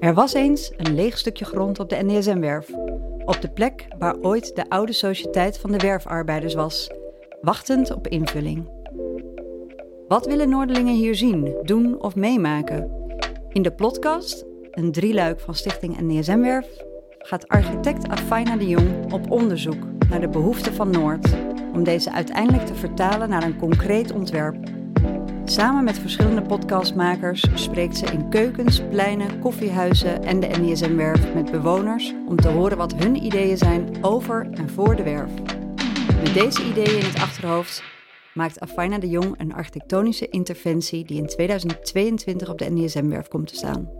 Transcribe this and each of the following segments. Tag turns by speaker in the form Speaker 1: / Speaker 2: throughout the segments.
Speaker 1: Er was eens een leeg stukje grond op de NDSM-werf. Op de plek waar ooit de oude sociëteit van de werfarbeiders was. Wachtend op invulling. Wat willen Noorderlingen hier zien, doen of meemaken? In de podcast, een drieluik van Stichting NDSM-werf, gaat architect Afaina de Jong op onderzoek naar de behoeften van Noord. Om deze uiteindelijk te vertalen naar een concreet ontwerp. Samen met verschillende podcastmakers spreekt ze in keukens, pleinen, koffiehuizen en de NDSM-werf met bewoners om te horen wat hun ideeën zijn over en voor de werf. Met deze ideeën in het achterhoofd maakt Afaina de Jong een architectonische interventie die in 2022 op de NDSM-werf komt te staan.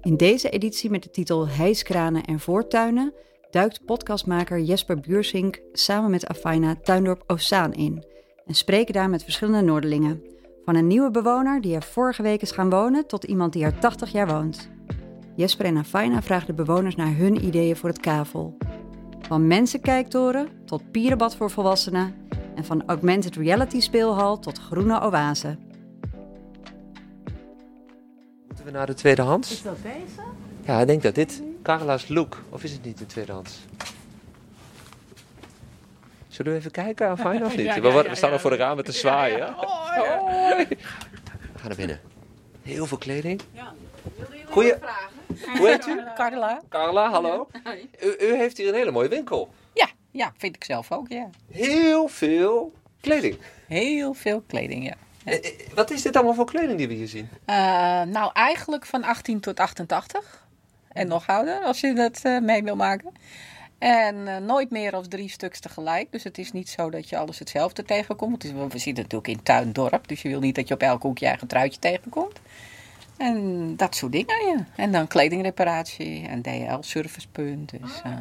Speaker 1: In deze editie met de titel Hijskranen en voortuinen duikt podcastmaker Jesper Buursink samen met Afaina Tuindorp Ozaan in en spreken daar met verschillende Noorderlingen. Van een nieuwe bewoner die er vorige week is gaan wonen tot iemand die er 80 jaar woont. Jesper en Afaina vragen de bewoners naar hun ideeën voor het kavel. Van mensenkijktoren tot pierenbad voor volwassenen en van augmented reality speelhal tot groene oase.
Speaker 2: Moeten we naar de tweedehands?
Speaker 3: Is dat deze?
Speaker 2: Ja, ik denk dat dit Carla's look, of is het niet de tweedehands? Zullen we even kijken aan Fijn of niet?
Speaker 3: Ja,
Speaker 2: we,
Speaker 3: ja,
Speaker 2: worden-
Speaker 3: ja,
Speaker 2: we staan
Speaker 3: ja.
Speaker 2: al voor de ramen te zwaaien.
Speaker 3: Ja, ja.
Speaker 2: hè?
Speaker 3: Oh, ja.
Speaker 2: Hoi. We gaan naar binnen. Heel veel kleding.
Speaker 3: Ja.
Speaker 2: Goeie. Hoe heet u?
Speaker 4: Eh, Carla?
Speaker 2: Carla, hallo. U, u heeft hier een hele mooie winkel.
Speaker 4: Ja, ja, vind ik zelf ook, ja.
Speaker 2: Heel veel kleding.
Speaker 4: Heel veel kleding, ja.
Speaker 2: Eh, eh, Wat is dit allemaal voor kleding die we hier zien?
Speaker 4: Eh, nou, eigenlijk van 18 tot 88. En nog ouder, als je dat eh, mee wil maken. En eh, nooit meer als drie stuks tegelijk. Dus het is niet zo dat je alles hetzelfde tegenkomt. Het is- we zitten natuurlijk in tuindorp, dus je wil niet dat je op elk hoekje eigen truitje tegenkomt. En dat soort dingen, ja. En dan kledingreparatie en DL-servicepunt. Dus, eh,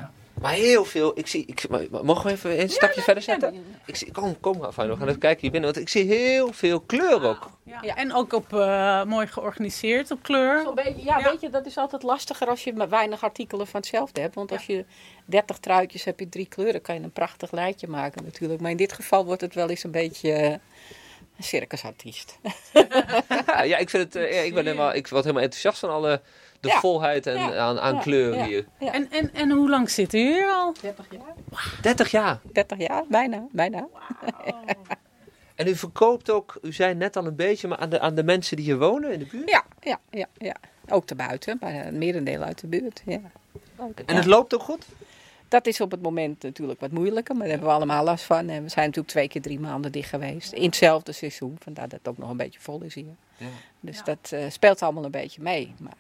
Speaker 2: Maar heel veel. Ik zie, ik, maar- maar mogen we even een stapje verder
Speaker 4: nou
Speaker 2: zetten? Ik zie, kom, kom, Fijn, we gaan even kijken hier binnen. Want ik zie heel veel kleur ook.
Speaker 4: Oh.
Speaker 3: Ja.
Speaker 4: Ja.
Speaker 3: En ook op, eh, mooi georganiseerd op kleur.
Speaker 4: Zo'n beetje, ja,
Speaker 3: Ja.
Speaker 4: weet je, dat is altijd lastiger als je maar weinig artikelen van hetzelfde hebt. Want als je 30 truitjes hebt in drie kleuren, kan je een prachtig lijstje maken natuurlijk. Maar in dit geval wordt het wel eens een beetje eh, een circusartiest.
Speaker 2: Ja, ja, ik, vind het, eh, ja, ik, ben helemaal, ik word helemaal enthousiast van alle, de
Speaker 4: Ja.
Speaker 2: volheid en,
Speaker 4: Ja.
Speaker 2: aan, aan
Speaker 4: Ja.
Speaker 2: kleur
Speaker 4: Ja.
Speaker 2: hier.
Speaker 4: Ja.
Speaker 3: En, en, en hoe lang zit u hier al?
Speaker 4: 30 jaar?
Speaker 2: 30 jaar.
Speaker 4: 30 jaar, bijna, bijna.
Speaker 2: En u verkoopt ook, u zei net al een beetje, maar aan de, aan de mensen die hier wonen in de buurt.
Speaker 4: Ja, ja, ja, ja. Ook te buiten, maar het merendeel uit de buurt, ja.
Speaker 2: En het loopt ook goed?
Speaker 4: Dat is op het moment natuurlijk wat moeilijker, maar daar hebben we allemaal last van. En we zijn natuurlijk twee keer drie maanden dicht geweest. In hetzelfde seizoen, vandaar dat het ook nog een beetje vol is hier.
Speaker 2: Ja.
Speaker 4: Dus
Speaker 3: Ja.
Speaker 4: dat eh, speelt allemaal een beetje mee. Maar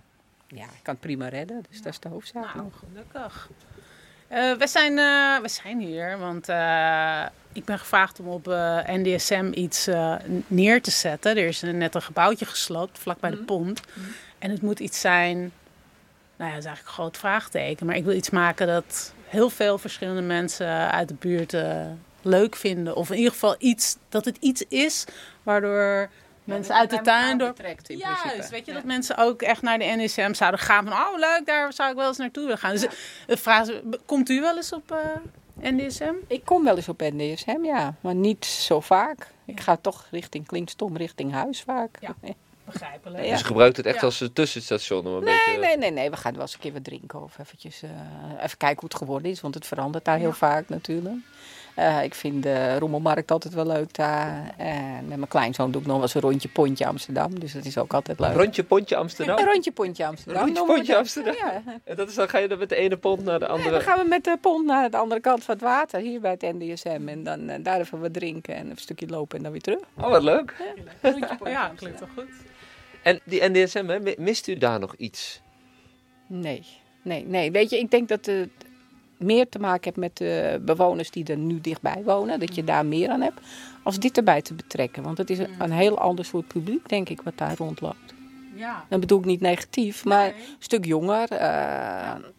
Speaker 4: ja, ik kan het prima redden, dus dat is de hoofdzaak.
Speaker 3: Nou,
Speaker 4: nog.
Speaker 3: gelukkig. Eh, we, zijn, eh, we zijn hier, want eh, ik ben gevraagd om op eh, NDSM iets eh, neer te zetten. Er is eh, net een gebouwtje gesloopt, vlakbij de pont. En het moet iets zijn, nou ja, dat is eigenlijk een groot vraagteken. Maar ik wil iets maken dat heel veel verschillende mensen uit de buurt eh, leuk vinden. Of in ieder geval iets, dat het iets is waardoor mensen uit de tuin door...
Speaker 4: Trekt in
Speaker 3: Juist,
Speaker 4: principe.
Speaker 3: weet je,
Speaker 4: Ja.
Speaker 3: dat mensen ook echt naar de NSM zouden gaan. Van, oh leuk, daar zou ik wel eens naartoe willen gaan. Dus de vraag is, komt u wel eens op eh NDSM?
Speaker 4: Ik kom wel eens op NDSM, ja, maar niet zo vaak. Ik ga toch richting Klinkstom, richting huis vaak.
Speaker 3: Ja. Begrijpelijk.
Speaker 4: Ja.
Speaker 2: Dus gebruikt het echt
Speaker 3: Ja.
Speaker 2: als een tussenstation om een
Speaker 4: Nee,
Speaker 2: beetje...
Speaker 4: nee, nee, nee, we gaan wel eens een keer wat drinken of eventjes, eh, even kijken hoe het geworden is, want het verandert daar heel vaak natuurlijk. Eh, ik vind de rommelmarkt altijd wel leuk daar. En met mijn kleinzoon doe ik nog wel eens een rondje pontje Amsterdam, dus dat is ook altijd leuk.
Speaker 2: Rondje pontje Amsterdam.
Speaker 4: Een rondje pontje Amsterdam.
Speaker 2: Rondje
Speaker 4: noemen we
Speaker 2: pontje
Speaker 4: dat.
Speaker 2: Amsterdam.
Speaker 4: Ja,
Speaker 2: En dat is dan ga je dan met de ene pont naar de
Speaker 4: En
Speaker 2: andere.
Speaker 4: dan gaan we met de pont naar de andere kant van het water, hier bij het NDSM. En dan eh, daar even wat drinken en een stukje lopen en dan weer terug.
Speaker 2: Oh, wat leuk.
Speaker 3: Ja, klinkt wel goed.
Speaker 2: En die NDSM, hè, mi- mist u daar nog iets?
Speaker 4: Nee, nee, nee. Weet je, ik denk dat het meer te maken heeft met de bewoners die er nu dichtbij wonen. Dat je daar meer aan hebt. Als dit erbij te betrekken. Want het is een, een heel ander soort publiek, denk ik, wat daar rondloopt.
Speaker 3: Ja.
Speaker 4: Dan bedoel ik niet negatief, maar
Speaker 3: Nee.
Speaker 4: een stuk jonger, eh,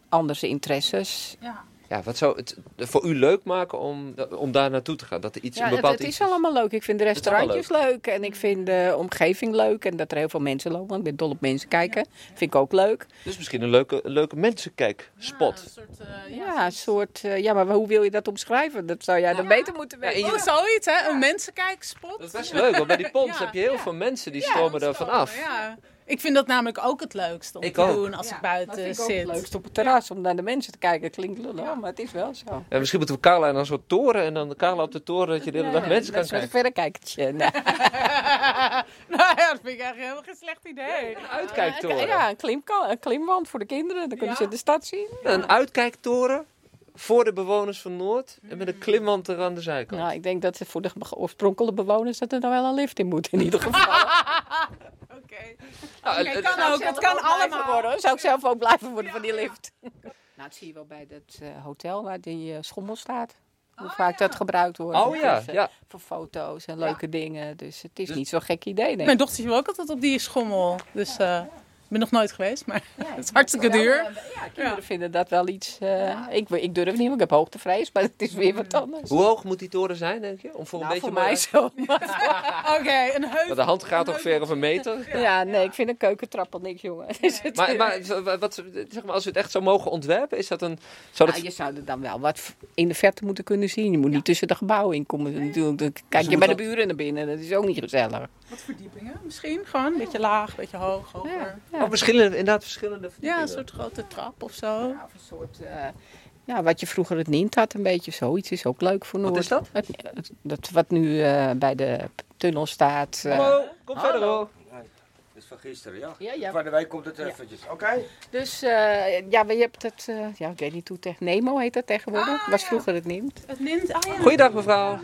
Speaker 4: andere interesses.
Speaker 3: Ja.
Speaker 2: Ja, wat zou het voor u leuk maken om, om daar naartoe te gaan? Dat er iets
Speaker 4: Ja,
Speaker 2: een
Speaker 4: het,
Speaker 2: bepaald
Speaker 4: het
Speaker 2: iets
Speaker 4: is wel allemaal leuk. Ik vind de
Speaker 2: Het is allemaal
Speaker 4: restaurantjes leuk. en ik vind de omgeving leuk. En dat er heel veel mensen lopen, want ik ben dol op mensen kijken. Vind ik ook leuk.
Speaker 2: Dus misschien een leuke, een leuke mensenkijkspot.
Speaker 3: een soort, eh,
Speaker 4: Ja, een soort, eh, ja, maar hoe wil je dat omschrijven? Dat zou jij dan beter moeten weten.
Speaker 3: Oh, zoiets, hè? Een mensenkijkspot.
Speaker 2: Dat is best leuk, want bij die pons
Speaker 3: Ja,
Speaker 2: heb je heel
Speaker 3: ja.
Speaker 2: veel mensen die
Speaker 3: Ja,
Speaker 2: stromen
Speaker 3: dat
Speaker 2: daarvan
Speaker 3: is wel-
Speaker 2: af.
Speaker 3: Ja. Ik vind dat namelijk ook het leukst om
Speaker 2: Ik
Speaker 3: te
Speaker 2: ook.
Speaker 3: doen als
Speaker 4: Ja,
Speaker 3: ik buiten
Speaker 4: dat vind ik ook
Speaker 3: zit.
Speaker 4: Het leukst op het terras om naar de mensen te kijken. Klinkt lullig, maar het is wel zo.
Speaker 2: Ja, misschien moeten we Carla en dan zo'n toren en dan de Carla op de toren dat je de hele dag
Speaker 4: Ja,
Speaker 2: mensen kan
Speaker 4: dat is
Speaker 2: kijken.
Speaker 4: Een verrekijkertje. Nou,
Speaker 3: nou ja, dat vind ik eigenlijk helemaal geen slecht idee.
Speaker 2: Uitkijktoren.
Speaker 4: ja, een, klimka- een klimwand voor de kinderen. Dan kunnen
Speaker 3: Ja.
Speaker 4: ze de stad zien.
Speaker 2: Een uitkijktoren voor de bewoners van Noord en
Speaker 4: Mm.
Speaker 2: met een klimwand er aan de zijkant.
Speaker 4: Nou, ik denk dat ze voor de be- oorspronkelijke bewoners dat er dan wel een lift in moet in ieder geval.
Speaker 3: Oké.
Speaker 2: Nou,
Speaker 3: Oké,
Speaker 2: het- het-
Speaker 3: kan ook. Het kan allemaal.
Speaker 4: worden. hoor. Zou ik zelf ook blijven worden van die lift. Nou, dat zie je wel bij dat eh, hotel waar die eh, schommel staat. Hoe vaak dat gebruikt wordt.
Speaker 2: Oh ja,
Speaker 4: Dus, eh,
Speaker 2: ja.
Speaker 4: Voor foto's en leuke dingen. Dus het is
Speaker 2: Dus-
Speaker 4: niet zo'n gek idee, denk ik.
Speaker 3: Mijn dochtertje wil ook altijd op die schommel. Dus eh, ik ben nog nooit geweest, maar het is hartstikke duur.
Speaker 4: Ja, kinderen vinden dat wel iets... eh, ik, ik durf niet, want ik heb hoogtevrees. Maar het is weer wat anders.
Speaker 2: Hoe hoog moet die toren zijn, denk je? Om voor
Speaker 4: Nou,
Speaker 2: een beetje
Speaker 4: voor Nou, mij
Speaker 2: mooi-
Speaker 4: zo.
Speaker 3: Oké, een heuvel.
Speaker 2: Want de hand gaat ongeveer of een meter.
Speaker 4: Ja, nee, ik vind een keukentrap al niks, jongen. Dus het,
Speaker 2: Maar,
Speaker 4: eh,
Speaker 2: maar, wat- wat, zeg maar als we het echt zo mogen ontwerpen, is dat een. Zou dat,
Speaker 4: nou, je zou er dan wel wat v- in de verte moeten kunnen zien. Je moet niet tussen de gebouwen in komen. Natuurlijk, dan kijk je
Speaker 2: moet
Speaker 4: bij de
Speaker 2: dat-
Speaker 4: buren naar binnen. Dat is ook niet gezellig.
Speaker 3: Wat verdiepingen misschien? Gewoon een beetje laag, een beetje hoog, hoger. Ja,
Speaker 2: Oh, verschillende, inderdaad, verschillende.
Speaker 3: een
Speaker 2: verdiepingen.
Speaker 3: soort grote trap of zo.
Speaker 4: Ja, of een soort... eh, ja, wat je vroeger het Nint had, een beetje zoiets, is ook leuk voor Noord.
Speaker 2: is dat?
Speaker 4: Het- het- dat wat nu eh, bij de p- tunnel staat. eh.
Speaker 2: Hallo, kom verder hoor.
Speaker 5: Dat is Dus van gisteren, ja.
Speaker 4: Ja, ja.
Speaker 5: Van de wijk komt het
Speaker 4: Ja.
Speaker 5: eventjes. Oké.
Speaker 4: Dus eh, ja, maar je hebt het... eh, ja, ik weet niet hoe... Tech, Nemo heet dat tegenwoordig.
Speaker 3: Ah,
Speaker 4: was
Speaker 3: ja.
Speaker 4: vroeger het Nint.
Speaker 3: Het Nint, ah ja.
Speaker 2: Goeiedag mevrouw.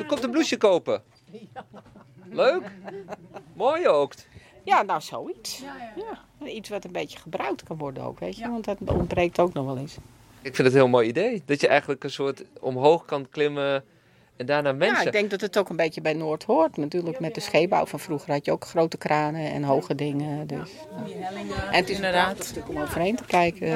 Speaker 2: U komt een blouseje kopen. Leuk. Mooi ook.
Speaker 4: Ja, nou zoiets. Ja, Iets wat een beetje gebruikt kan worden ook, weet je. Want dat ontbreekt ook nog wel eens.
Speaker 2: Ik vind het een heel mooi idee. Dat je eigenlijk een soort omhoog kan klimmen en daarna
Speaker 4: Ja, ik
Speaker 2: mensen.
Speaker 4: denk dat het ook een beetje bij Noord hoort. Natuurlijk, met de scheepbouw van vroeger had je ook grote kranen en hoge dingen. Dus. En het is inderdaad een stuk om overheen te kijken.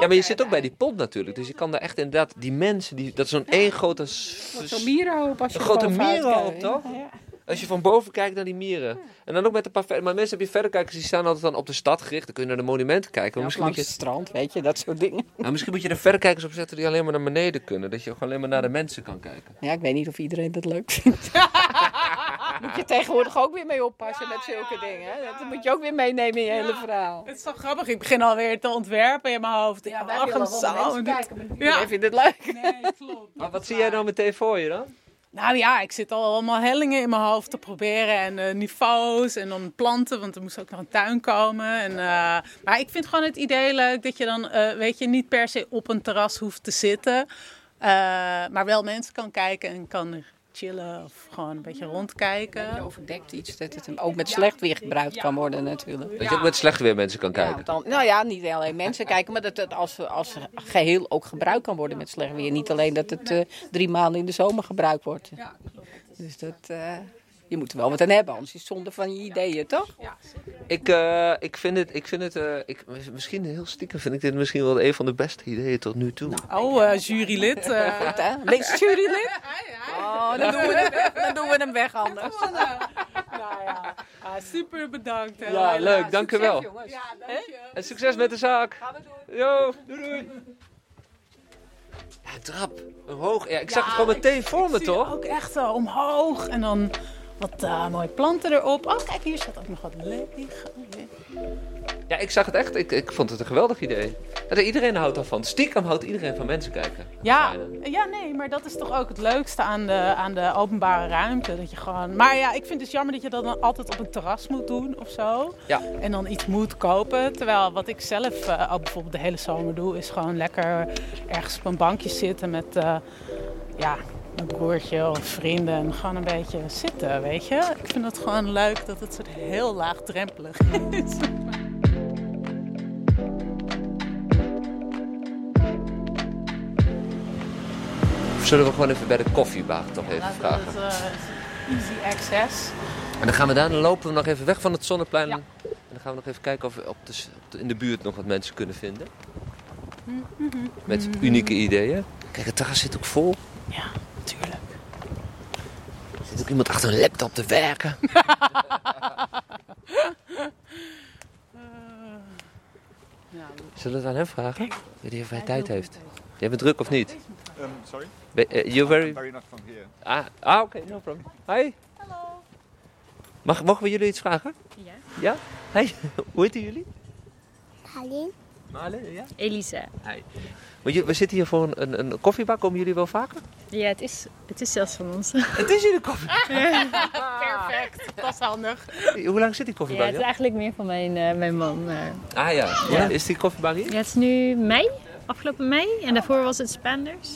Speaker 2: Ja, maar je zit ook bij die pont natuurlijk. Dus je kan daar echt inderdaad die mensen, die, dat is zo'n één grote. s-
Speaker 4: Zo'n mierenhoop als je
Speaker 2: Dus Een
Speaker 4: er
Speaker 2: grote
Speaker 4: bovenuit
Speaker 2: mierenhoop,
Speaker 4: kijkt.
Speaker 2: toch?
Speaker 4: Ja, ja.
Speaker 2: Als je van boven kijkt naar die mieren. En dan ook met een paar ver- Maar mensen heb je verderkijkers die staan altijd dan op de stad gericht. Dan kun je naar de monumenten kijken. Maar
Speaker 4: Ja,
Speaker 2: misschien,
Speaker 4: of
Speaker 2: moet
Speaker 4: langs het
Speaker 2: je,
Speaker 4: strand, weet je, dat soort dingen.
Speaker 2: nou, misschien moet je er verrekijkers op zetten die alleen maar naar beneden kunnen. Dat je gewoon alleen maar naar de mensen kan kijken.
Speaker 4: Ja, ik weet niet of iedereen dat leuk vindt. moet je tegenwoordig ook weer mee oppassen met zulke dingen. hè. Dat moet je ook weer meenemen in je hele verhaal.
Speaker 3: Het is zo grappig, ik begin alweer te ontwerpen in mijn hoofd. Ja, ach, hem zo. Ja.
Speaker 4: Iedereen vindt het leuk.
Speaker 3: Nee, klopt.
Speaker 2: Maar wat zie jij nou meteen voor je dan?
Speaker 3: Nou ja, ik zit al allemaal hellingen in mijn hoofd te proberen en eh, niveaus en dan planten, want er moest ook nog een tuin komen. En, eh, maar ik vind gewoon het idee leuk dat je dan, eh, weet je, niet per se op een terras hoeft te zitten, eh, maar wel mensen kan kijken en kan chillen of gewoon een beetje rondkijken.
Speaker 4: Overdekt iets dat het ook met slecht weer gebruikt kan worden natuurlijk.
Speaker 2: Dat je ook met slecht weer mensen kan
Speaker 4: Ja,
Speaker 2: kijken.
Speaker 4: want dan, nou ja, niet alleen mensen kijken, maar dat het als, als geheel ook gebruikt kan worden met slecht weer. Niet alleen dat het eh, drie maanden in de zomer gebruikt wordt. Dus dat, eh, je moet er wel wat aan hebben, anders is het zonde van je ideeën, toch?
Speaker 2: Ik, eh, ik vind het, ik vind het eh, ik, misschien heel stiekem vind ik dit misschien wel een van de beste ideeën tot nu
Speaker 4: Nou.
Speaker 2: toe.
Speaker 3: Oh, eh, jurylid. eh.
Speaker 4: Goed, hè? Wees het jurylid. Oh, dan doen we hem weg, dan doen we hem weg anders.
Speaker 3: Nou ja, ah, super bedankt. hè,
Speaker 2: ja,
Speaker 3: Leila.
Speaker 2: leuk, dank u wel.
Speaker 4: Jongens.
Speaker 2: En succes met de zaak. Yo, doei doei. Ja, een trap, omhoog. Ja, ik zag het gewoon meteen voor me,
Speaker 3: Zie je
Speaker 2: toch?
Speaker 3: Ook echt zo omhoog en dan wat eh, mooie planten erop. Oh, kijk, hier staat ook nog wat leeg.
Speaker 2: Ja, ik zag het echt. Ik, ik vond het een geweldig idee. Dat iedereen houdt daarvan. Stiekem houdt iedereen van mensen kijken.
Speaker 3: Ja, eh,
Speaker 2: Fijne.
Speaker 3: ja, nee, maar dat is toch ook het leukste aan de, aan de openbare ruimte. Dat je gewoon... Maar ja, ik vind het dus jammer dat je dat dan altijd op een terras moet doen of zo.
Speaker 2: Ja.
Speaker 3: En dan iets moet kopen. Terwijl wat ik zelf eh, al bijvoorbeeld de hele zomer doe, is gewoon lekker ergens op een bankje zitten met eh, ja, mijn broertje of vrienden. En gewoon een beetje zitten, weet je. Ik vind het gewoon leuk dat het soort heel laagdrempelig is.
Speaker 2: Of zullen we gewoon even bij de koffiebar toch even
Speaker 3: Laten we
Speaker 2: vragen?
Speaker 3: het eh, easy access.
Speaker 2: En dan gaan we daar, dan lopen we nog even weg van het zonneplein. En dan gaan we nog even kijken of we op de, s- op de- in de buurt nog wat mensen kunnen vinden. Met unieke ideeën. Kijk, het terras zit ook vol.
Speaker 3: Ja, natuurlijk.
Speaker 2: Er zit ook iemand achter een laptop te werken. Zullen we het aan hem vragen? Weet hij of hij tijd heeft? Jij bent druk of niet?
Speaker 6: Um, sorry?
Speaker 2: Ben- eh, You're very...
Speaker 6: Very not from here.
Speaker 2: Ah, ah oké, no problem. Hi. Hallo. Mag, mogen we jullie iets vragen?
Speaker 6: Ja.
Speaker 2: Ja? Hey, hoe heten jullie?
Speaker 7: Alleen
Speaker 2: Malen, ja.
Speaker 6: Elisa.
Speaker 2: Want je- we zitten hier voor een, een, een koffiebar. Komen jullie wel vaker?
Speaker 6: Ja, het is, het is zelfs van ons.
Speaker 2: Het is jullie koffie.
Speaker 3: Perfect, dat is handig.
Speaker 2: Hoe lang zit die
Speaker 6: Ja,
Speaker 2: koffiebar?
Speaker 6: het is
Speaker 2: hier?
Speaker 6: eigenlijk meer van mijn, eh, mijn man. maar-
Speaker 2: Ah ja. ja. Is die koffiebar hier?
Speaker 6: Ja, het is nu mei, afgelopen mei. En daarvoor was het Spenders.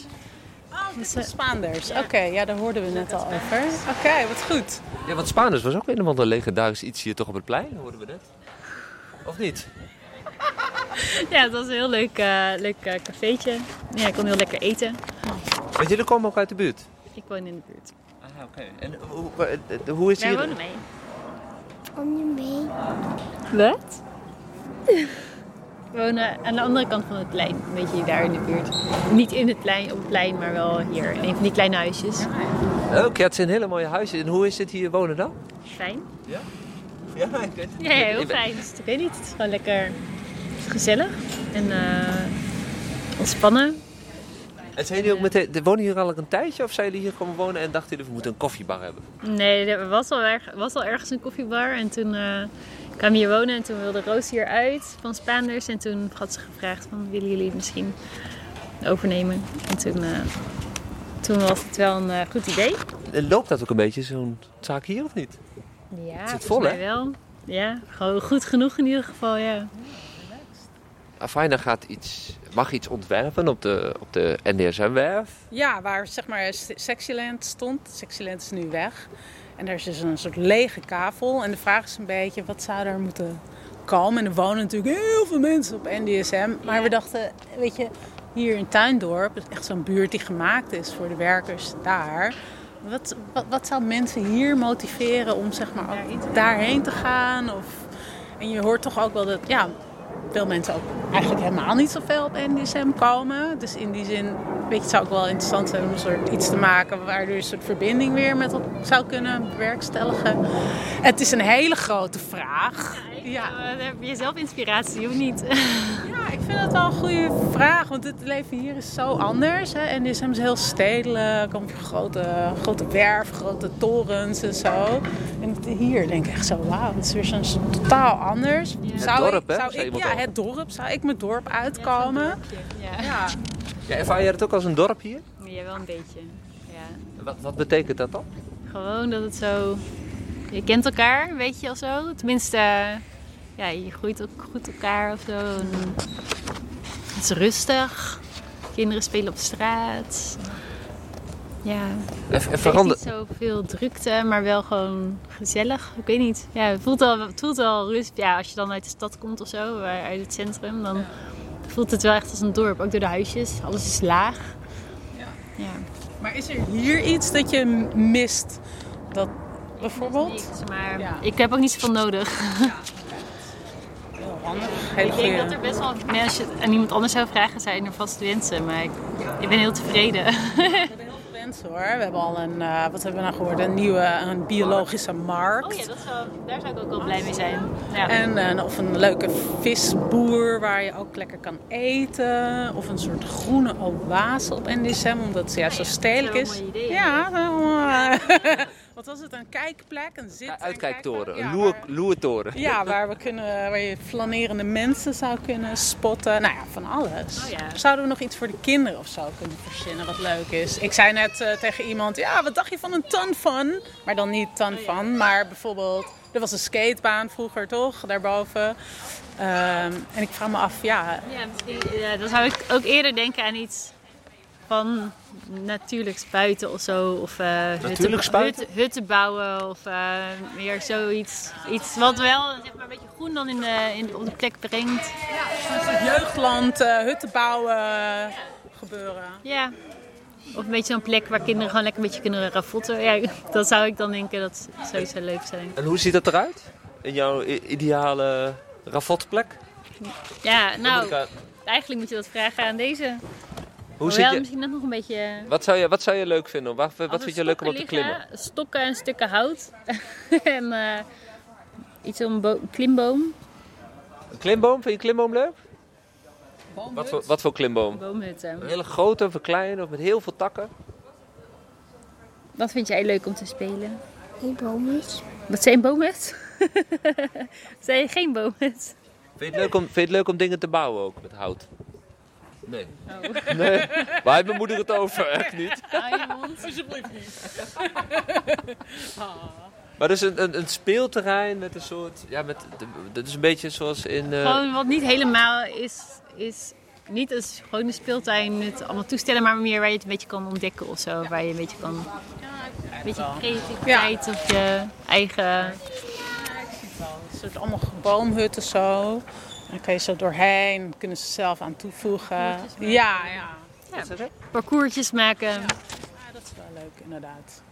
Speaker 3: Oh, dit
Speaker 6: eh,
Speaker 3: is Spaanders. Oké, ja, daar hoorden we net al over. Oké, wat goed.
Speaker 2: Ja, want Spaanders was ook een of ander legendarisch iets hier toch op het plein, hoorden we net. Of niet?
Speaker 6: Ja, het was een heel leuk, eh leuk eh, cafeetje. Ja, ik kon heel lekker eten.
Speaker 2: Want jullie komen ook uit de buurt.
Speaker 6: Ik woon in de buurt.
Speaker 2: Ah, oké. En hoe, wa- eh, hoe is
Speaker 6: Wij
Speaker 2: hier...
Speaker 6: wonen mee.
Speaker 7: om je mee.
Speaker 6: Wat? We wonen aan de andere kant van het plein. Een beetje daar in de buurt. Niet in het plein, op het plein, maar wel hier. In een van die kleine huisjes.
Speaker 2: Oh, Oké, het zijn hele mooie huizen. En hoe is het hier wonen dan?
Speaker 6: Fijn.
Speaker 2: Ja, ik weet het.
Speaker 6: Ja, ja, heel fijn. Dus ik weet niet, het is gewoon lekker gezellig en eh, ontspannen.
Speaker 2: En zijn jullie ook meteen... de- Wonen jullie al een tijdje of zijn jullie hier komen wonen en dachten jullie we moeten een koffiebar hebben?
Speaker 6: Nee, er was al, erg, was al ergens een koffiebar en toen eh kwam hier wonen en toen wilde Roos hier uit van Spaanders. En toen had ze gevraagd van willen jullie het misschien overnemen. En toen, eh, toen was het wel een eh, goed idee.
Speaker 2: En loopt dat ook een beetje, zo'n zaak hier of niet?
Speaker 6: Ja,
Speaker 2: zit
Speaker 6: volgens
Speaker 2: vol,
Speaker 6: mij
Speaker 2: hè?
Speaker 6: wel. Ja, gewoon goed genoeg in ieder geval, ja.
Speaker 2: Afaina gaat iets, mag iets ontwerpen op de, op de NDSM-werf.
Speaker 3: Ja, waar zeg maar S- Sexyland stond. Sexyland is nu weg. En er is dus een soort lege kavel. En de vraag is een beetje, wat zou daar moeten komen? En er wonen natuurlijk heel veel mensen op NDSM. Maar we dachten, weet je, hier in Tuindorp, het is echt zo'n buurt die gemaakt is voor de werkers daar. Wat, wat, wat zou mensen hier motiveren om zeg maar ook daarheen te gaan? Of, en je hoort toch ook wel dat, ja, veel mensen ook eigenlijk helemaal niet zoveel op NDSM komen. Dus in die zin, weet je, het zou ook wel interessant zijn om een soort iets te maken waardoor je een soort verbinding weer met op zou kunnen bewerkstelligen. Het is een hele grote vraag. Ja.
Speaker 6: Dan Eh, heb je zelf inspiratie, of niet?
Speaker 3: Ja, ik vind dat wel een goede vraag, want het leven hier is zo anders. Hè? En is hem heel stedelijk, om grote, grote werf, grote torens en zo. En het- hier denk ik echt zo, wauw, het is weer zo'n soort totaal anders. ik-
Speaker 2: dorp, hè,
Speaker 3: Zou
Speaker 2: zei
Speaker 3: ik,
Speaker 2: iemand
Speaker 3: ja,
Speaker 2: al.
Speaker 3: het dorp. Zou ik mijn dorp uitkomen?
Speaker 6: Ja,
Speaker 3: Ja,
Speaker 2: Ja, ervaar jij het ook als een dorp hier?
Speaker 6: ja wel een beetje. Ja.
Speaker 2: Wat, wat betekent dat dan?
Speaker 6: Gewoon dat het zo. Je kent elkaar, weet je of zo. Tenminste, eh, ja, je groeit ook goed elkaar of zo. En het is rustig. Kinderen spelen op straat. Ja,
Speaker 2: En, en
Speaker 6: het is niet
Speaker 2: verandert...
Speaker 6: zoveel drukte, maar wel gewoon gezellig. Ik weet niet. Ja, het voelt al, het voelt wel rustig. Ja, als je dan uit de stad komt of zo, eh, uit het centrum, dan voelt het wel echt als een dorp. Ook door de huisjes. Alles is laag. ja.
Speaker 3: maar is er hier iets dat je mist? Dat bijvoorbeeld?
Speaker 6: Niks, maar
Speaker 3: Ja.
Speaker 6: ik heb ook niet zoveel nodig.
Speaker 3: Heel handig, hele
Speaker 6: Ik denk dat
Speaker 3: goede.
Speaker 6: er best wel, nee, als je het aan iemand anders zou vragen, zijn er vast wensen. Maar ik, ik ben heel tevreden.
Speaker 3: Mensen hoor, we hebben al een, eh, wat hebben we nou gehoord, een nieuwe een biologische markt.
Speaker 6: Oh dat daar zou ik ook wel blij mee zijn. Ja.
Speaker 3: En, eh, of een leuke visboer waar je ook lekker kan eten. Of een soort groene oase op NDSM, omdat het ja, zo stedelijk
Speaker 6: Oh, dat is
Speaker 3: is.
Speaker 6: wel een mooi idee,
Speaker 3: Ja, nou, eh, wat was het? Een kijkplek, een zit. en
Speaker 2: Uitkijktoren, een
Speaker 3: kijkplek.
Speaker 2: loer,
Speaker 3: Ja, waar-
Speaker 2: loertoren.
Speaker 3: ja, waar, we kunnen, waar je flanerende mensen zou kunnen spotten. Nou ja, van alles.
Speaker 6: Oh ja.
Speaker 3: Zouden we nog iets voor de kinderen of zo kunnen verzinnen wat leuk is? Ik zei net eh, tegen iemand, ja, wat dacht je van een ton van? Maar dan niet ton
Speaker 6: Oh
Speaker 3: van, maar bijvoorbeeld... Er was een skatebaan vroeger, toch? Daarboven. Ehm, en ik vraag me af, ja...
Speaker 6: Ja, misschien, ja, dan zou ik ook eerder denken aan iets van natuurlijk spuiten of zo. Of eh,
Speaker 2: Natuurlijk spuiten?
Speaker 6: hutten- hutten bouwen of eh, meer zoiets. Iets wat wel zeg maar, een beetje groen dan in de, in, op de plek brengt.
Speaker 3: Het jeugdland, eh, hutten bouwen, gebeuren.
Speaker 6: Ja. Of een beetje zo'n plek waar kinderen gewoon lekker een beetje kunnen ravotten. Ja, dat zou ik dan denken dat sowieso leuk zijn.
Speaker 2: En hoe ziet dat eruit? In jouw i- ideale rafotplek?
Speaker 6: Ja,
Speaker 2: Moet ik
Speaker 6: nou,
Speaker 2: uit-
Speaker 6: eigenlijk moet je dat vragen aan deze.
Speaker 2: Hoe
Speaker 6: Hoewel,
Speaker 2: zit je,
Speaker 6: misschien net nog Oh een beetje... eh,
Speaker 2: wat, zou je, wat zou je leuk vinden? Wat, wat
Speaker 6: Als
Speaker 2: vind
Speaker 6: er
Speaker 2: je leuk om op te
Speaker 6: stokken liggen,
Speaker 2: klimmen?
Speaker 6: Stokken en stukken hout. en eh, iets om een bo- klimboom.
Speaker 2: Een klimboom? Vind je klimboom leuk? Wat voor, wat voor klimboom?
Speaker 6: Boomhutten.
Speaker 2: Een hele grote of een kleine of met heel veel takken?
Speaker 6: Wat vind jij leuk om te spelen?
Speaker 7: Die boom is.
Speaker 6: Dat zijn boomhut. zijn geen boomhut.
Speaker 2: Vind je, het leuk om, vind je het leuk om dingen te bouwen ook met hout? Nee.
Speaker 6: Oh.
Speaker 2: nee. Waar heeft mijn moeder het over? Echt niet.
Speaker 3: Alsjeblieft niet.
Speaker 2: Maar dat is een, een, een speelterrein met een soort. Ja, met, dat is een beetje zoals in. eh,
Speaker 6: Gewoon wat niet helemaal is, is niet als gewoon een speeltuin met allemaal toestellen, maar meer waar je het een beetje kan ontdekken of zo. Waar je een beetje kan. Een beetje creativiteit of je eigen.
Speaker 3: Een soort allemaal boomhutten zo. Dan kan je zo doorheen, kunnen ze zelf aan toevoegen. Ja, ja.
Speaker 6: Ja, parcoursjes maken.
Speaker 3: Ja, dat is wel leuk inderdaad.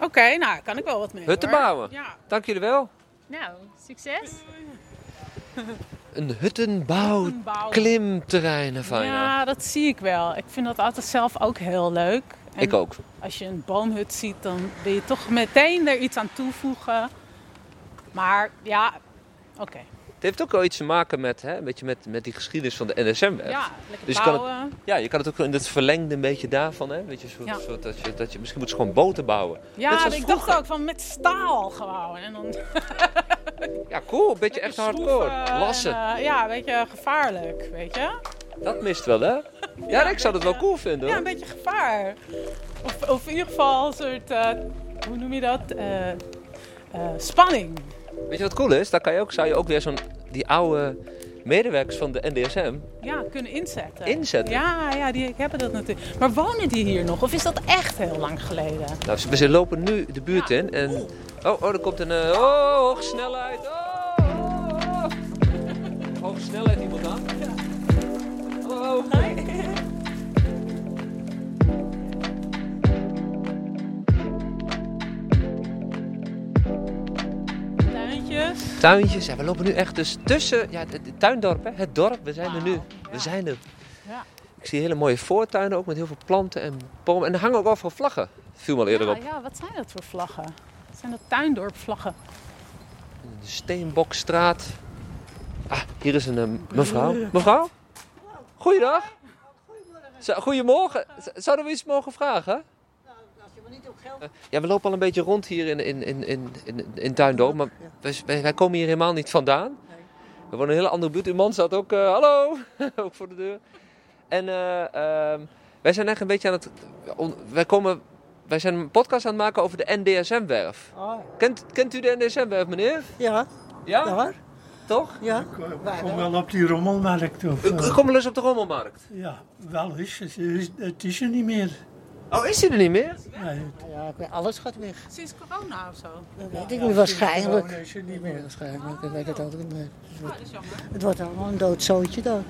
Speaker 3: Oké, nou kan ik wel wat mee.
Speaker 2: Hutten
Speaker 3: hoor.
Speaker 2: bouwen.
Speaker 3: Ja.
Speaker 2: Dank jullie wel.
Speaker 6: Nou, succes!
Speaker 2: Een huttenbouw klimterrein ervan. Ja.
Speaker 3: ja, dat zie ik wel. Ik vind dat altijd zelf ook heel leuk. En
Speaker 2: Ik ook.
Speaker 3: Als je een boomhut ziet, dan wil je toch meteen er iets aan toevoegen. Maar ja, oké.
Speaker 2: Het heeft ook wel iets te maken met, hè, een beetje met, met die geschiedenis van de NSM. hè?
Speaker 3: Ja, lekker
Speaker 2: Dus je kan het-
Speaker 3: bouwen.
Speaker 2: ja, je kan het ook in het verlengde een beetje daarvan. Hè? Weet je, soort,
Speaker 3: Ja.
Speaker 2: soort dat je, dat je, misschien moet je gewoon boten bouwen. Net
Speaker 3: Ja,
Speaker 2: zoals
Speaker 3: ik
Speaker 2: vroeger.
Speaker 3: dacht ook van met staal gewoon. En dan
Speaker 2: Ja, cool. Een beetje echt hardcore.
Speaker 3: schroeven
Speaker 2: Lassen.
Speaker 3: en, eh, ja, een beetje gevaarlijk, weet je?
Speaker 2: Dat mist wel, hè? Ja, ik zou dat wel cool vinden.
Speaker 3: Ja,
Speaker 2: Hoor.
Speaker 3: een beetje gevaar. Of, of in ieder geval een soort, eh, hoe noem je dat? Eh, eh, spanning.
Speaker 2: Weet je wat cool is? Daar kan je ook, zou je ook weer zo'n die oude medewerkers van de NDSM
Speaker 3: Ja, kunnen inzetten.
Speaker 2: inzetten.
Speaker 3: Ja, ja, die hebben dat natuurlijk. Maar wonen die hier nog? Of is dat echt heel lang geleden?
Speaker 2: Nou, ze, ze lopen nu de buurt in en... Oh, oh, er komt een... eh, oh, hoge snelheid. Oh, oh, oh. Hoge snelheid iemand aan. Hallo.
Speaker 3: Tuintjes.
Speaker 2: Tuintjes. Ja, we lopen nu echt dus tussen... Ja, het, het tuindorp, hè. Het dorp. We zijn er nu. We zijn er.
Speaker 3: Ja.
Speaker 2: Ik zie hele mooie voortuinen ook met heel veel planten en bomen. En er hangen ook overal vlaggen. Viel me al eerder
Speaker 3: Ja,
Speaker 2: op.
Speaker 3: Ah, ja, wat zijn dat voor vlaggen? Zijn dat tuindorpvlaggen?
Speaker 2: De Steenbokstraat. Ah, hier is een eh, mevrouw. Mevrouw? Goeiedag. Zo- Goedemorgen. Z- Zouden we iets mogen vragen? Ja, we lopen al een beetje rond hier in, in, in, in, in, in Tuindorp, maar wij, wij- wij komen hier helemaal niet vandaan. We wonen in een hele andere buurt. Uw man staat ook, eh, hallo, ook voor de deur. En eh, ehm, wij zijn echt een beetje aan het, on- wij, komen, wij zijn een podcast aan het maken over de NDSM-werf. Kent, kent u de NDSM-werf, meneer?
Speaker 8: Ja,
Speaker 2: Ja?
Speaker 8: daar.
Speaker 2: Toch?
Speaker 8: Ja.
Speaker 9: Kom wel op die rommelmarkt. Of,
Speaker 2: Ik,
Speaker 9: eh,
Speaker 2: ik kom wel eens op de rommelmarkt.
Speaker 9: ja, wel is het. is- Het is er niet meer.
Speaker 2: Oh, is hij er niet meer?
Speaker 9: Nee,
Speaker 8: ja ik weet- alles gaat weg.
Speaker 3: Sinds corona of zo.
Speaker 8: Dat weet ik niet waarschijnlijk.
Speaker 9: is er niet meer.
Speaker 8: Waarschijnlijk, ik weet het ook niet meer.
Speaker 3: dat is jammer.
Speaker 8: Het wordt allemaal een doodzootje daar.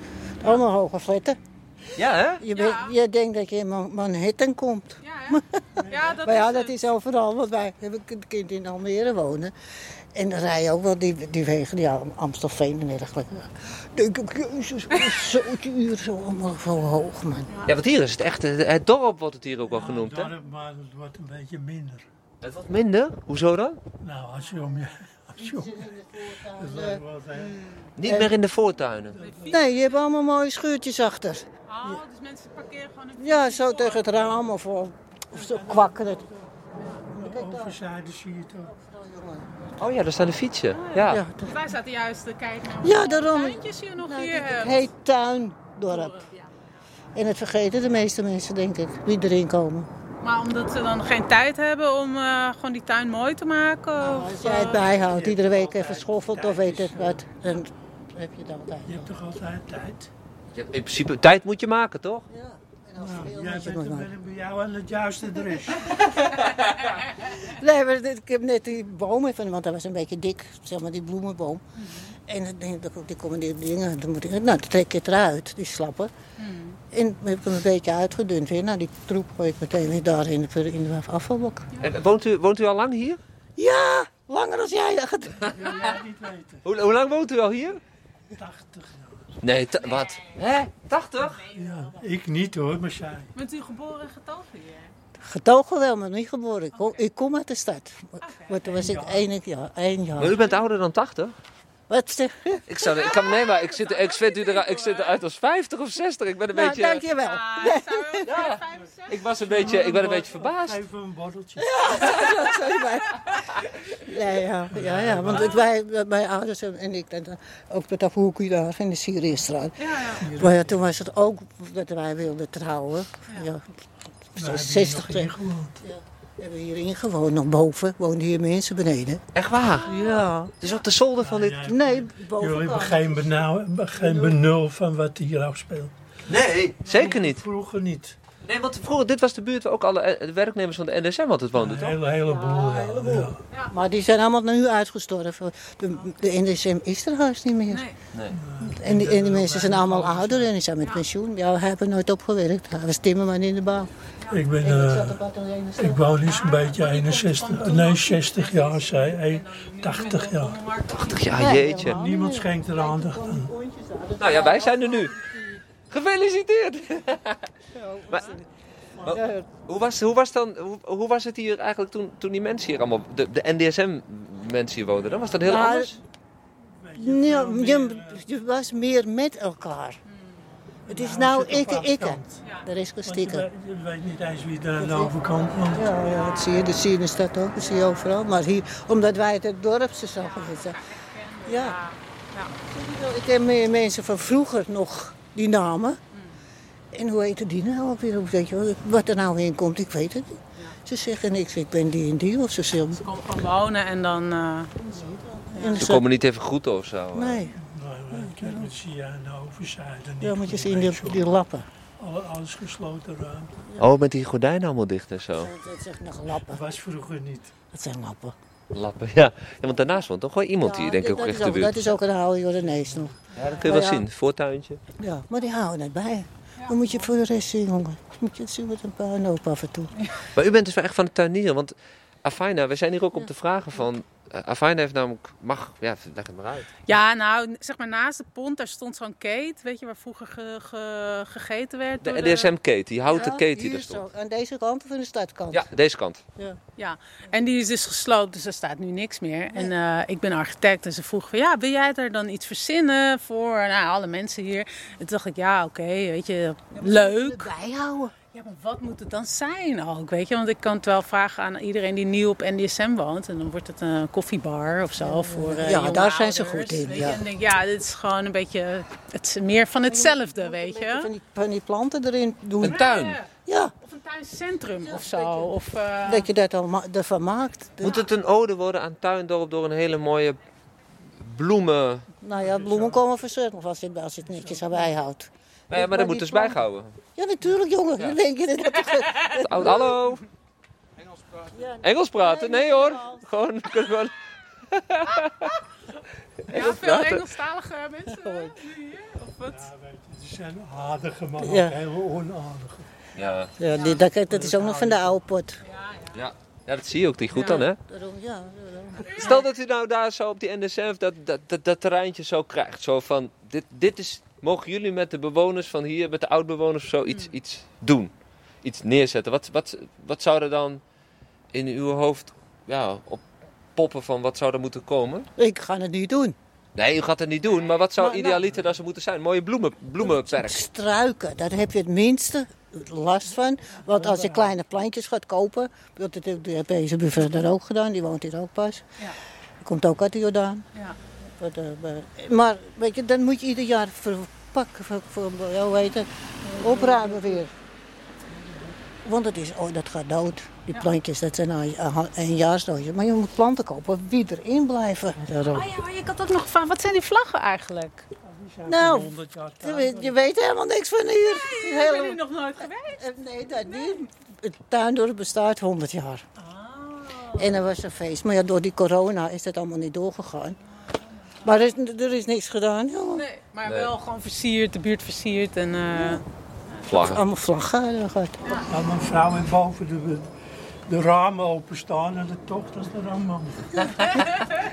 Speaker 8: Allemaal hoge fletten.
Speaker 2: Ja, hè?
Speaker 8: Je, weet-
Speaker 3: Ja.
Speaker 8: je denkt dat je in Man- Manhattan komt.
Speaker 3: Ja, hè? ja dat
Speaker 8: Maar ja,
Speaker 3: is
Speaker 8: dat
Speaker 3: het.
Speaker 8: is overal, want wij hebben een kind in Almere wonen. En dan rij je ook wel die, die wegen, ja, Amstelveen en dergelijke. Denk ik, jezus, wat is zo'n uur zo allemaal zo hoog, man.
Speaker 2: Ja, want hier is het echt, het, het dorp wordt het hier ook wel genoemd, hè?
Speaker 9: Dorp, maar het wordt een beetje minder.
Speaker 2: Het wordt minder? Hoezo dan?
Speaker 9: Nou, als je om je... Als je om je wordt, eh,
Speaker 2: Niet meer in de voortuinen.
Speaker 8: Nee, eh, je hebt allemaal mooie schuurtjes achter.
Speaker 3: Oh, dus mensen parkeren gewoon een
Speaker 8: Ja, zo tegen het raam of, of zo kwakken het.
Speaker 9: overzijde zie je het ook.
Speaker 2: Oh ja, daar staan de fietsen. Ja.
Speaker 8: Ja,
Speaker 3: Wij zaten juist te kijken naar
Speaker 8: Ja, daarom. Nou,
Speaker 3: tuintjes hier nog hier
Speaker 8: Het
Speaker 3: hebt.
Speaker 8: heet tuindorp. En het vergeten de meeste mensen, denk ik, wie erin komen.
Speaker 3: Maar omdat ze dan geen tijd hebben om eh, gewoon die tuin mooi te maken?
Speaker 8: Als
Speaker 3: of,
Speaker 8: jij het
Speaker 3: eh,
Speaker 8: bijhoudt, iedere week even schoffelt of weet ik wat. Dan heb je het altijd.
Speaker 9: Je hebt toch altijd tijd?
Speaker 2: Je hebt In principe, tijd moet je maken, toch?
Speaker 9: Nou,
Speaker 8: veel
Speaker 9: jij
Speaker 8: moet je
Speaker 9: bent
Speaker 8: nog
Speaker 9: er bij- bij jou aan het juiste adres.
Speaker 8: Nee, maar dit- ik heb net die bomen van, want dat was een beetje dik, zeg maar die bloemenboom. En dan denk ik, die komen die dingen, dan moet ik, nou, dan trek je het eruit, die slappen. En dan heb ik hem een beetje uitgedund weer. Nou, die troep gooi ik meteen weer daar in de, in de afvalbak.
Speaker 2: En woont u, woont u al lang hier?
Speaker 8: Ja, langer dan jij dacht.
Speaker 9: Wil jij het niet weten?
Speaker 2: Hoe, hoe lang woont u al hier?
Speaker 9: 80 jaar.
Speaker 2: Nee, ta- wat? Hè? 80?
Speaker 9: Ja, ik niet hoor, maar zij.
Speaker 3: Bent u geboren en getogen hier?
Speaker 8: Getogen wel, maar niet geboren. Ik kom, ik kom uit de stad. Maar toen was ik één jaar. Één
Speaker 2: Maar u
Speaker 8: jaar.
Speaker 2: bent ouder dan 80?
Speaker 8: Wat zeg
Speaker 2: Ik, zou, ik kan nee, maar ik zit, ik, zit u er, ik zit eruit als 50 of 60. Ik ben een
Speaker 8: Nou,
Speaker 2: beetje...
Speaker 8: dankjewel.
Speaker 3: Ah, zou je ook
Speaker 2: Ja.
Speaker 3: 65?
Speaker 2: Ik, was een beetje, ik ben een beetje verbaasd.
Speaker 9: Even een borreltje.
Speaker 8: Ja, sorry, maar- Nee, ja, ja, ja, want ik, wij, mijn ouders en ik, en, ook met dat hoekje daar in de Syriëstraat.
Speaker 3: Ja, ja.
Speaker 8: Maar ja, toen was het ook dat wij wilden trouwen. Ja.
Speaker 9: Nou, heb je
Speaker 8: 60
Speaker 9: nog
Speaker 8: tegen.
Speaker 9: ingewoond.
Speaker 8: Hebben we hierin gewoond, nog boven. Woonden hier mensen beneden?
Speaker 2: Echt waar?
Speaker 8: Ja.
Speaker 2: Dus op de zolder van dit...
Speaker 8: Nee,
Speaker 9: Jullie
Speaker 8: boven.
Speaker 9: hebben geen, benauw- geen benul van wat hier afspeelt.
Speaker 2: Nee. Zeker niet.
Speaker 9: Vroeger niet.
Speaker 2: Nee, want vroeger, dit was de buurt waar ook alle eh, de werknemers van de NSM altijd woonden,
Speaker 9: Een
Speaker 2: toch?
Speaker 9: hele, heleboel. ja, ja.
Speaker 8: Maar die zijn allemaal nu uitgestorven. De, de NSM is er haast niet meer.
Speaker 3: Nee.
Speaker 2: Nee.
Speaker 8: En, die, en die mensen zijn allemaal ouder en die zijn met pensioen. Ja, hij heeft er nooit opgewerkt. Hij was timmerman in de bouw.
Speaker 9: Ik ben... eh, ik woon nu zo'n beetje 61, nee 60 jaar, zei hij, 80 jaar.
Speaker 2: 80 jaar, jeetje.
Speaker 9: Niemand schenkt er aandacht aan.
Speaker 2: Nou ja, wij zijn er nu. Gefeliciteerd! Maar- maar hoe, was, hoe, was dan, hoe, hoe was het hier eigenlijk toen, toen die mensen hier allemaal, de, de NDSM-mensen hier woonden? Dan was dat heel
Speaker 8: Nou,
Speaker 2: anders?
Speaker 8: Ja, je, je was meer met elkaar. Het is nou ikke, ikke. Er is geen
Speaker 9: Want je
Speaker 8: stikken.
Speaker 9: weet- Je weet niet eens wie er aan de overkant woont.
Speaker 8: Ja, ja, dat zie je. Dat zie je in de stad ook. Dat zie je overal. Maar hier, omdat wij het het dorpse zagen. Ja. ja. Ik ken meer mensen van vroeger nog die namen. En hoe heette die nou ook weer? Hoe Weet je, wel, wat er nou in komt, ik weet het niet. Ze zeggen niks, ik ben die en die. Of ze zeggen...
Speaker 3: Kom gewoon wonen en dan... eh,
Speaker 8: en
Speaker 2: Ze
Speaker 8: zo-
Speaker 2: komen niet even groeten of zo.
Speaker 8: Nee,
Speaker 9: Nou, eh, ik heb het zie je aan de overzijde. niet
Speaker 8: ja, moet je
Speaker 9: goed,
Speaker 8: zien, die,
Speaker 9: weet je wel.
Speaker 8: die lappen.
Speaker 9: Alle- Alles gesloten ruimte.
Speaker 2: Oh, met die gordijnen allemaal dicht en zo.
Speaker 8: Dat zijn nog lappen.
Speaker 9: Was vroeger niet.
Speaker 8: Dat zijn lappen.
Speaker 2: Lappen, ja. ja want daarnaast woont toch gewoon iemand hier,
Speaker 8: Ja,
Speaker 2: Oh, denk ik,
Speaker 8: dat-
Speaker 2: ook echt
Speaker 8: dat
Speaker 2: de
Speaker 8: is
Speaker 2: buurt.
Speaker 8: Dat is ook een oude Jordanees nog.
Speaker 2: Ja, dat kun je wel
Speaker 8: Ja.
Speaker 2: zien, voortuintje.
Speaker 8: Ja, maar die houden het bij. Dan moet je voor de rest zien, jongen. Moet je het zien met een paar noop af en toe.
Speaker 2: Maar u bent dus wel echt van het tuinieren, want Afaina, we zijn hier ook om te vragen van... eh, Afaina heeft namelijk, mag, ja, leg het maar uit.
Speaker 3: Ja, nou, zeg maar naast de pont, daar stond zo'n keet, weet je, waar vroeger ge- ge- gegeten werd.
Speaker 2: De
Speaker 3: door
Speaker 2: NDSM-keten, die houten
Speaker 8: Ja,
Speaker 2: keten die
Speaker 8: hier
Speaker 2: er stond.
Speaker 8: zo, Aan deze kant of aan de stadkant?
Speaker 2: Ja, deze kant.
Speaker 3: Ja, en die is dus gesloopt, dus er staat nu niks meer. En eh, ik ben architect en ze vroeg van, ja, wil jij er dan iets verzinnen voor nou, alle mensen hier? En toen dacht ik, ja, oké, weet je, leuk.
Speaker 8: Bijhouden.
Speaker 3: Ja, maar wat moet het dan zijn ook, weet je? Want ik kan het wel vragen aan iedereen die nieuw op NDSM woont. En dan wordt het een koffiebar of zo voor eh,
Speaker 8: Ja,
Speaker 3: jonge
Speaker 8: daar zijn ze
Speaker 3: ouders,
Speaker 8: goed in,
Speaker 3: weet je.
Speaker 8: ja.
Speaker 3: En ik denk, ja, dit is gewoon een beetje, het is meer van hetzelfde, weet je?
Speaker 8: Van die, van die planten erin
Speaker 2: Een
Speaker 8: doen.
Speaker 2: tuin.
Speaker 8: Ja,
Speaker 3: Of een tuincentrum of zo. Of, eh,
Speaker 8: dat je dat allemaal ervan maakt. De-
Speaker 2: Moet het een ode worden aan Tuindorp door een hele mooie bloemen?
Speaker 8: Nou ja, bloemen komen verzorgd als je, als je het netjes aan bijhoudt.
Speaker 2: Nee, maar
Speaker 8: maar
Speaker 2: dat
Speaker 8: die
Speaker 2: moet dus
Speaker 8: planten-
Speaker 2: bijgehouden.
Speaker 8: Ja, natuurlijk, jongen. Dan Denk je dat dat
Speaker 2: Hallo? Engels praten. Engels praten? Nee hoor. Gewoon, gewoon.
Speaker 3: ja, veel
Speaker 2: praten.
Speaker 3: Engelstalige mensen nu hier, of wat?
Speaker 9: Ja, weet je, die zijn aardige, maar ook
Speaker 8: Ja.
Speaker 9: hele onaardige.
Speaker 2: Ja.
Speaker 8: ja, die, dat, dat is ook nog van de oude pot.
Speaker 2: ja. Ja, dat zie je ook niet goed dan, hè?
Speaker 8: Daarom, ja.
Speaker 2: Stel dat u nou daar zo op die NSF dat, dat, dat, dat terreintje zo krijgt. Zo van, dit, dit is, mogen jullie met de bewoners van hier, met de oudbewoners of zo, iets,
Speaker 8: Hmm.
Speaker 2: iets doen? Iets neerzetten? Wat, wat, wat zou er dan in uw hoofd ja, op poppen van wat zou er moeten komen?
Speaker 8: Ik ga het niet doen.
Speaker 2: Nee, u gaat het niet doen, maar wat zou
Speaker 8: Maar, nou-
Speaker 2: idealiter dan ze moeten zijn? Mooie bloemen, bloemenperk.
Speaker 8: Struiken, daar heb je het minste last van. Want als je kleine plantjes gaat kopen, dat dat heeft deze buffet daar ook gedaan, die woont hier ook pas.
Speaker 3: Ja.
Speaker 8: Die komt ook uit de Jordaan.
Speaker 3: Ja.
Speaker 8: Wat, eh, maar- Maar weet je, dan moet je ieder jaar verpakken, voor, voor, hoe heet het, opruimen weer. Want het is, oh, dat gaat dood. Die plantjes, dat zijn een, een jaarsdoosje. Maar je moet planten kopen die erin blijven.
Speaker 3: Oh ja, maar ik had ook nog van, wat zijn die vlaggen eigenlijk?
Speaker 8: Nou,
Speaker 9: 100 jaar
Speaker 8: je weet, je weet helemaal niks van hier.
Speaker 3: Ik
Speaker 8: Helemaal-
Speaker 3: ben hier nog nooit geweest.
Speaker 8: Eh, Nee, dat niet. Het tuindorp bestaat 100 jaar.
Speaker 3: Ah.
Speaker 8: En er was een feest. Maar ja, door die corona is dat allemaal niet doorgegaan. Maar er is, er is niks gedaan, jongen.
Speaker 3: Nee, maar
Speaker 2: Nee.
Speaker 3: wel gewoon versierd, de buurt versierd en... eh,
Speaker 2: Vlaggen.
Speaker 8: Allemaal vlaggen. eh, en dat.
Speaker 9: Nou, mijn vrouw en boven de, de ramen openstaan en de tocht als de ramen.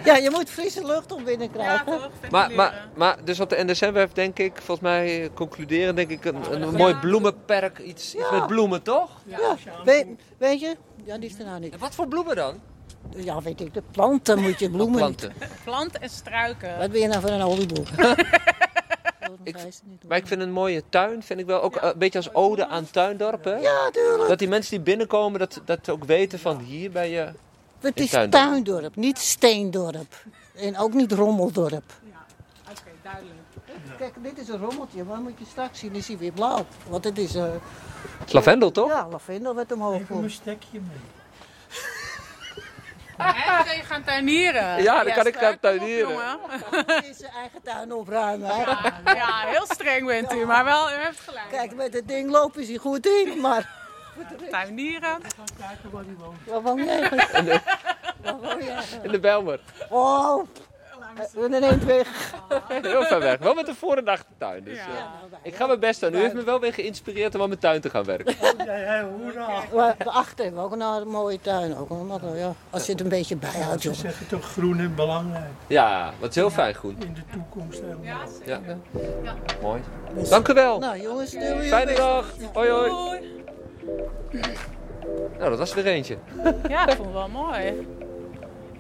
Speaker 8: Ja, je moet frisse lucht om binnen
Speaker 3: Ja,
Speaker 8: krijgen.
Speaker 3: toch?
Speaker 2: Maar,
Speaker 3: Ventileren.
Speaker 2: maar, maar dus op de NSM werf denk ik, volgens mij eh, concluderen, denk ik een, een mooi bloemenperk, iets, iets met bloemen toch?
Speaker 8: Ja, weet, weet je? Ja, die is er nou niet.
Speaker 2: En wat voor bloemen dan?
Speaker 8: Ja, weet ik, de planten moet je bloemen niet.
Speaker 2: planten.
Speaker 3: Planten en struiken.
Speaker 8: Wat ben je nou voor een olieboer?
Speaker 2: Ik- Maar ik vind een mooie tuin, vind ik wel ook eh, een beetje als ode aan tuindorpen.
Speaker 8: Ja, tuurlijk.
Speaker 2: Dat die mensen die binnenkomen, dat, dat ze ook weten van hier ben je.
Speaker 8: Het
Speaker 2: In
Speaker 8: is
Speaker 2: tuindorp.
Speaker 8: tuindorp, niet steendorp. En ook niet rommeldorp.
Speaker 3: Oké, duidelijk.
Speaker 8: Kijk, dit is een rommeltje, maar moet je straks zien, is hij weer blauw. Want het is, eh
Speaker 2: Lavendel toch?
Speaker 8: ja, lavendel wat omhoog
Speaker 9: Even een
Speaker 8: komt.
Speaker 9: stekje mee.
Speaker 3: Hè, kun je gaan tuinieren?
Speaker 2: Ja, dan kan ik
Speaker 3: Jesper,
Speaker 2: gaan
Speaker 3: kom op,
Speaker 2: tuinieren.
Speaker 3: jongen.
Speaker 8: Het is zijn eigen tuin opruimen. hè.
Speaker 3: Ja, heel streng bent u, maar wel, u heeft gelijk.
Speaker 8: Kijk, met het ding lopen ze goed in, maar...
Speaker 3: Tuinieren.
Speaker 8: Waar woon jij eigenlijk? Waar woon jij eigenlijk?
Speaker 2: In de Bijlmer.
Speaker 8: Oh, we zijn één weg.
Speaker 2: Heel ver weg. Wel met een voor- en achtertuin. Dus, eh,
Speaker 3: Ja.
Speaker 2: ik ga mijn best doen. U heeft me wel weer geïnspireerd om aan mijn tuin te gaan werken.
Speaker 9: Hey, hoera.
Speaker 8: We we achter hebben ook een aardig mooie tuin. Ook, hoor. maar, eh, ja, als je het een beetje bijhoudt,
Speaker 9: Ze
Speaker 8: jongen.
Speaker 9: zeggen toch groen en belangrijk
Speaker 2: Ja, wat is heel fijn groen.
Speaker 9: in de toekomst helemaal.
Speaker 2: Ja. Mooi. Dank u wel.
Speaker 8: Nou jongens, doen we je
Speaker 2: Fijne
Speaker 8: best.
Speaker 2: dag. Hoi hoi.
Speaker 3: Doei.
Speaker 2: Nou, dat was er weer eentje.
Speaker 3: Ja, ik vond het wel mooi.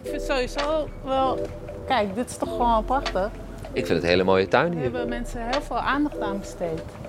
Speaker 3: Ik vind sowieso wel... Kijk, dit is toch gewoon prachtig.
Speaker 2: Ik vind het een hele mooie tuin
Speaker 3: Daar
Speaker 2: hier.
Speaker 3: hebben mensen heel veel aandacht aan besteed.